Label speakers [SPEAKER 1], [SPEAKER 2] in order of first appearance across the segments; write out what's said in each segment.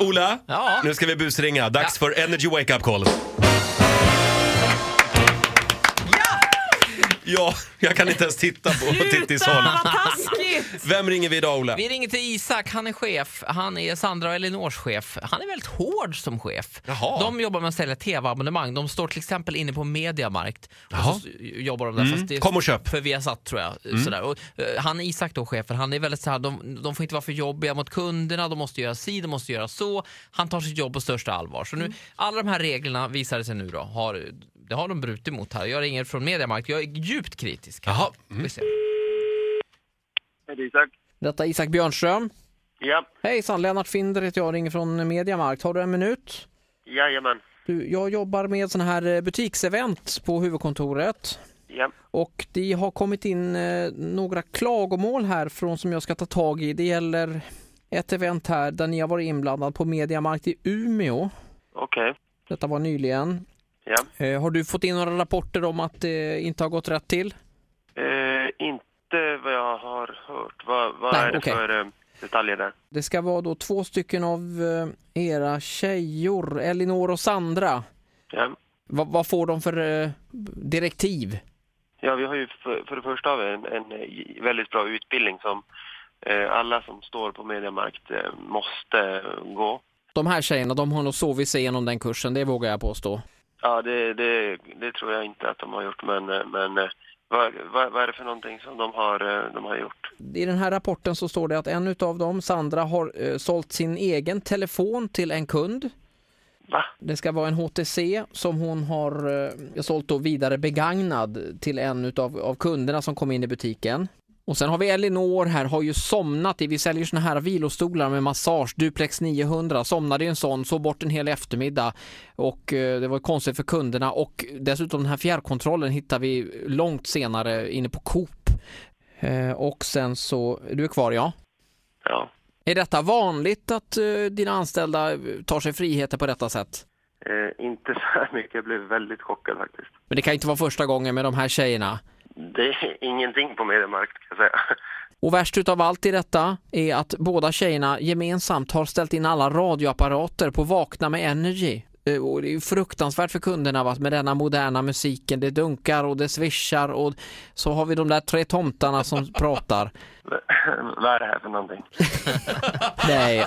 [SPEAKER 1] Ola!
[SPEAKER 2] Ja.
[SPEAKER 1] Nu ska vi busringa. Dags för Energy Wake Up Call. Ja, jag kan inte ens titta på Tittis håll.
[SPEAKER 3] Vad taskigt!
[SPEAKER 1] Vem ringer vi idag Ola?
[SPEAKER 2] Vi ringer till Isak, han är chef. Han är Sandra och Elinors chef. Han är väldigt hård som chef.
[SPEAKER 1] Jaha.
[SPEAKER 2] De jobbar med att sälja tv-abonnemang. De står till exempel inne på Mediamarkt. Och så jobbar de där. Fast det är
[SPEAKER 1] Mm. Kom och köp. Mm.
[SPEAKER 2] För Viasat tror jag. Sådär. Och, eh, han är Isak då, chefen. Han är väldigt så här, de, de får inte vara för jobbiga mot kunderna. De måste göra si, de måste göra så. Han tar sitt jobb på största allvar. Så nu,
[SPEAKER 1] Mm.
[SPEAKER 2] alla de här reglerna visar det sig nu då. Har, det har de brutit mot här. Jag ringer från Mediamarkt. Jag är djupt kritisk.
[SPEAKER 1] Jaha.
[SPEAKER 2] Vi ser.
[SPEAKER 4] Hej, det är Isak.
[SPEAKER 5] Detta är Isak Björnström.
[SPEAKER 4] Ja,
[SPEAKER 5] Hejsan, Lennart Finder heter jag ringer från Mediamarkt. Har du en minut?
[SPEAKER 4] jajamän.
[SPEAKER 5] Du, jag jobbar med sån här eh, butiksevent på huvudkontoret.
[SPEAKER 4] Ja,
[SPEAKER 5] Och det har kommit in eh, några klagomål här från som jag ska ta tag i. Det gäller ett event här där ni har varit inblandad på Mediamarkt i Umeå.
[SPEAKER 4] okej.
[SPEAKER 5] Detta var nyligen.
[SPEAKER 4] Ja.
[SPEAKER 5] Eh, har du fått in några rapporter om att det inte har gått rätt till?
[SPEAKER 4] Eh, inte vad jag har hört. Vad, vad
[SPEAKER 5] Nej,
[SPEAKER 4] är det
[SPEAKER 5] okej.
[SPEAKER 4] för eh, detaljer där?
[SPEAKER 5] Det ska vara då två stycken av eh, era tjejor, Elinor och Sandra.
[SPEAKER 4] Ja.
[SPEAKER 5] Vad, vad får de för eh, direktiv?
[SPEAKER 4] ja, vi har ju för, för det första har vi en, en eh, väldigt bra utbildning som eh, alla som står på Mediamarkt eh, måste eh, gå.
[SPEAKER 5] De här tjejerna, de har nog sovit sig igenom den kursen, det vågar jag påstå.
[SPEAKER 4] Ja, det, det, det tror jag inte att de har gjort, men, eh, men eh, vad, vad, vad är det för någonting som de har, eh, de har gjort?
[SPEAKER 5] I den här rapporten så står det att en av dem, Sandra, har eh, sålt sin egen telefon till en kund.
[SPEAKER 4] Va?
[SPEAKER 5] Det ska vara en HTC som hon har eh, sålt då vidare begagnad till en utav, av kunderna som kom in i butiken. Och sen har vi Elinor här, har ju somnat i, vi säljer såna här vilostolar med massage, Duplex 900, somnade i en sån, sov bort en hel eftermiddag och eh, det var konstigt för kunderna och dessutom den här fjärrkontrollen hittar vi långt senare inne på Coop. Eh, och sen så, du är kvar ja.
[SPEAKER 4] Ja.
[SPEAKER 5] Är detta vanligt att eh, dina anställda eh, tar sig friheter på detta sätt?
[SPEAKER 4] Eh, inte så här mycket. Jag blev väldigt chockad faktiskt.
[SPEAKER 5] Men det kan inte vara första gången med de här tjejerna.
[SPEAKER 4] Det är ingenting på Mediamarkt kan jag säga.
[SPEAKER 5] Och värst utav allt i detta är att båda tjejerna gemensamt har ställt in alla radioapparater på Vakna med Energy. Eh, Och det är ju fruktansvärt för kunderna va? med denna moderna musiken. Det dunkar och det svischar och så har vi de där tre tomtarna som pratar.
[SPEAKER 4] Vad är det här för någonting?
[SPEAKER 5] Nej, eh,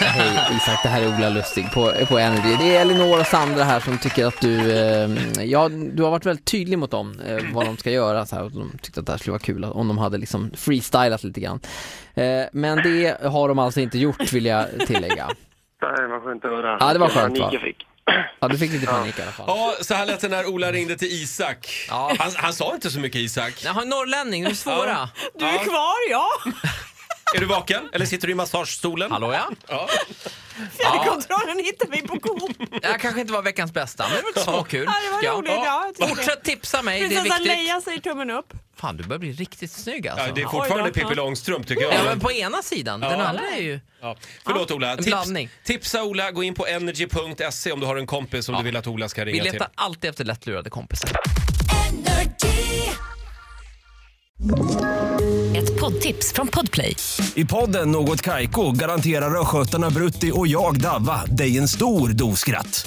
[SPEAKER 5] hej Isak, det här är Ola Lustig på, på Energy. Det är Elinor och Sandra här som tycker att du, eh, ja, du har varit väldigt tydlig mot dem eh, vad de ska göra. Så här, och de tyckte att det här skulle vara kul att- om de hade liksom freestylat lite grann. Eh, men det har de alltså inte gjort vill jag tillägga.
[SPEAKER 4] Det var skönt att höra.
[SPEAKER 5] Ja, det var skönt, va?
[SPEAKER 4] Nike fick.
[SPEAKER 5] Ja, du fick lite panik i alla fall.
[SPEAKER 1] Ja, så här lät det när Ola ringde till Isak.
[SPEAKER 2] Ja.
[SPEAKER 1] Han, han sa inte så mycket Isak.
[SPEAKER 2] Nej, han är norrlänning, de är svåra.
[SPEAKER 3] Du är kvar, ja!
[SPEAKER 1] Är du vaken? Eller sitter du i massagestolen?
[SPEAKER 2] Hallå ja.
[SPEAKER 1] Ja.
[SPEAKER 3] Fjärrkontrollen hittar vi på Coop.
[SPEAKER 2] Det här kanske inte var veckans bästa, men det var lite småkul.
[SPEAKER 3] Ja, det var
[SPEAKER 2] tycker jag.
[SPEAKER 3] roligt, ja, jag tycker det.
[SPEAKER 2] Fortsätt tipsa mig, det är
[SPEAKER 3] Prinsessan
[SPEAKER 2] viktigt.
[SPEAKER 3] Leia säger tummen upp.
[SPEAKER 2] Fan, du börjar bli riktigt snygg alltså.
[SPEAKER 1] Ja, det är
[SPEAKER 3] Oj
[SPEAKER 1] fortfarande
[SPEAKER 3] då.
[SPEAKER 1] Pippi Långstrump tycker jag.
[SPEAKER 2] Ja, men på ena sidan. Den
[SPEAKER 1] Ja.
[SPEAKER 2] andra är ju...
[SPEAKER 1] Ja. Förlåt Ola.
[SPEAKER 2] en
[SPEAKER 1] Tips,
[SPEAKER 2] blandning.
[SPEAKER 1] tipsa Ola, gå in på energy.se om du har en kompis som du vill att Ola ska
[SPEAKER 2] Vi
[SPEAKER 1] ringa till.
[SPEAKER 2] letar alltid efter lättlurade kompisar.
[SPEAKER 6] Ett poddtips från Podplay.
[SPEAKER 7] I podden Något Kaiko garanterar östgötarna Brutti och jag, Davva, dig en stor dos skratt.